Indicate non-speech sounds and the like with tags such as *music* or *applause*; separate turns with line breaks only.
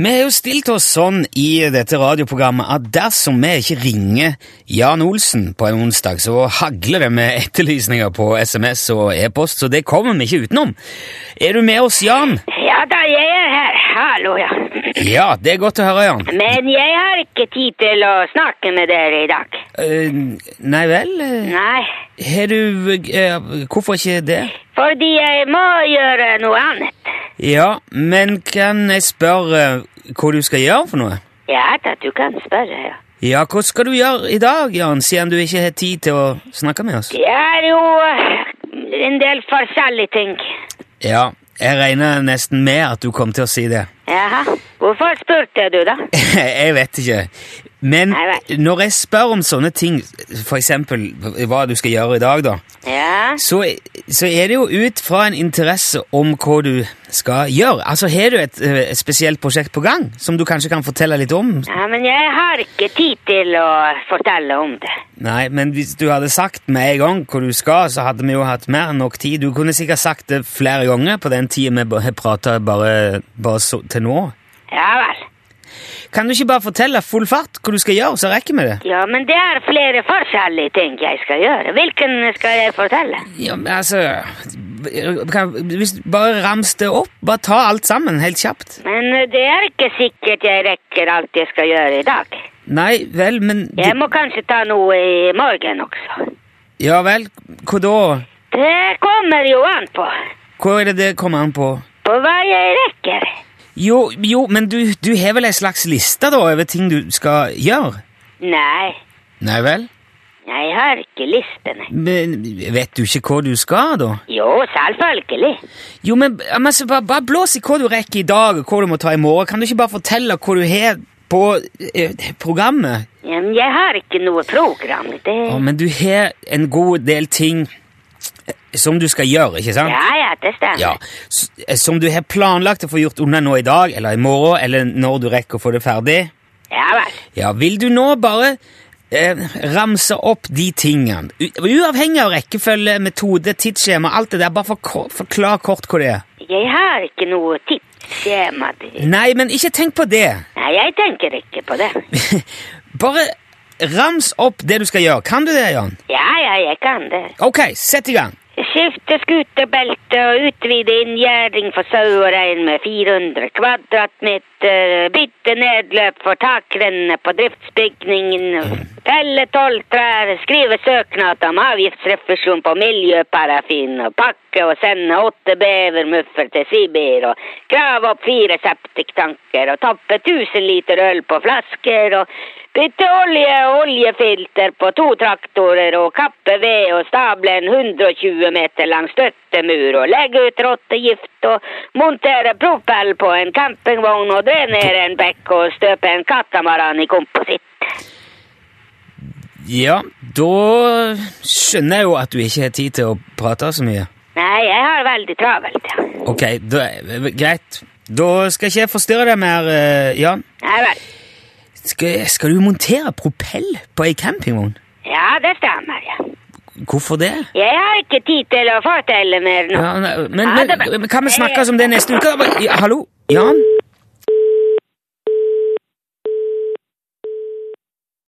Vi har jo stilt oss sånn i dette radioprogrammet at dersom vi ikke ringer Jan Olsen på en onsdag, så hagler det med etterlysninger på SMS og e-post, så det kommer vi ikke utenom. Er du med oss, Jan?
Ja da, jeg er her. Hallo, ja.
Ja, det er godt å høre, Jan.
Men jeg har ikke tid til å snakke med dere i dag.
Eh, nei vel? eh,
Nei,
Har du eh, Hvorfor ikke det?
fordi jeg må gjøre noe annet.
Ja, men kan jeg spørre eh, hva du skal gjøre for noe?
Ja da, du kan spørre, ja.
Ja, hva skal du gjøre i dag, Jan, siden du ikke har tid til å snakke med oss?
Det er jo eh, en del forskjellige ting.
Ja, jeg regner nesten med at du kom til å si det.
Jaha, hvorfor spurte du da?
*laughs* Jeg vet ikke. Men
Nei vel.
når jeg spør om sånne ting, for eksempel hva du skal gjøre i dag, da,
Ja,
så, så er det jo ut fra en interesse om hva du skal gjøre. Altså, har du et, eh, et spesielt prosjekt på gang som du kanskje kan fortelle litt om?
ja men jeg har ikke tid til å fortelle om det.
Nei, men hvis du hadde sagt med en gang hvor du skal, så hadde vi jo hatt mer enn nok tid. Du kunne sikkert sagt det flere ganger på den tiden vi ba- har prata bare, bare så, til nå.
Ja vel.
Kan du ikke bare fortelle full fart hva du skal gjøre, så rekker vi det?
Ja, men det er flere forskjellige ting jeg skal gjøre. Hvilken skal jeg fortelle?
Ja, men altså kan, hvis, Bare rams det opp. Bare ta alt sammen, helt kjapt.
Men eh, det er ikke sikkert jeg rekker alt jeg skal gjøre i dag.
Nei vel, men du,
Jeg må kanskje ta noe i morgen også.
Ja vel, hva da?
Det kommer jo an på.
Hva er det det kommer an på?
På hva jeg rekker.
Jo, jo, men du, du har vel ei slags liste, da, over ting du skal gjøre?
Nei,
Nei vel?
jeg har ikke listene.
Men vet du ikke hva du skal, da?
Jo, selvfølgelig.
Jo, men, men altså, bare, bare blås i hva du rekker i dag, og hva du må ta i morgen. Kan du ikke bare fortelle hva du har på eh, programmet?
Ja, men jeg har ikke noe program. Det...
Ja, men du har en god del ting eh, som du skal gjøre, ikke sant?
Ja, ja, det stemmer.
Ja, s- eh, Som du har planlagt å få gjort unna nå i dag, eller i morgen, eller når du rekker å få det ferdig.
Ja vel.
Ja, Vil du nå bare eh, ramse opp de tingene? U uavhengig av rekkefølge, metode, tidsskjema, alt det der. Bare forko- forklar kort hva det er.
Jeg har ikke noe tidsskjema. Det-
Nei, men ikke tenk på det.
Nei, jeg tenker ikke på
*laughs*
det.
Bare rams opp det du skal gjøre. Kan du det, Jan?
Ja, ja, jeg kan det.
Ok, sett i gang.
Skifte skuterbelte og utvide inngjerding for sau og rein med 400 kvadratmeter. Bytte nedløp for takrennene på driftsbygningen. Felle tolv trær. Skrive søknad om avgiftsrefusjon på miljøparafin. Og pakke og sende åtte bevermuffer til Sibir. Og grave opp fire septiktanker. Og tappe 1000 liter øl på flasker. og Bytte olje og oljefilter på to traktorer og kappe ved og stable en 120 meter lang støttemur og legge ut rottegift og montere propell på en campingvogn og drenere en bekk og støpe en katamaran i kompositt.
Ja, da skjønner jeg jo at du ikke har tid til å prate så mye.
Nei, jeg har veldig travelt, ja.
Ok, da, greit. Da skal ikke jeg forstyrre deg mer, eh, Jan.
Nei vel.
Skal, skal du montere propell på ei campingvogn?
Ja, det stemmer, ja.
Hvorfor det?
Jeg har ikke tid til å fortelle mer nå.
Ja, nei, men,
Ja, det er
men,
bra. Eh,
men kan vi snakkes om det neste uke? da? Ja, hallo? Jan?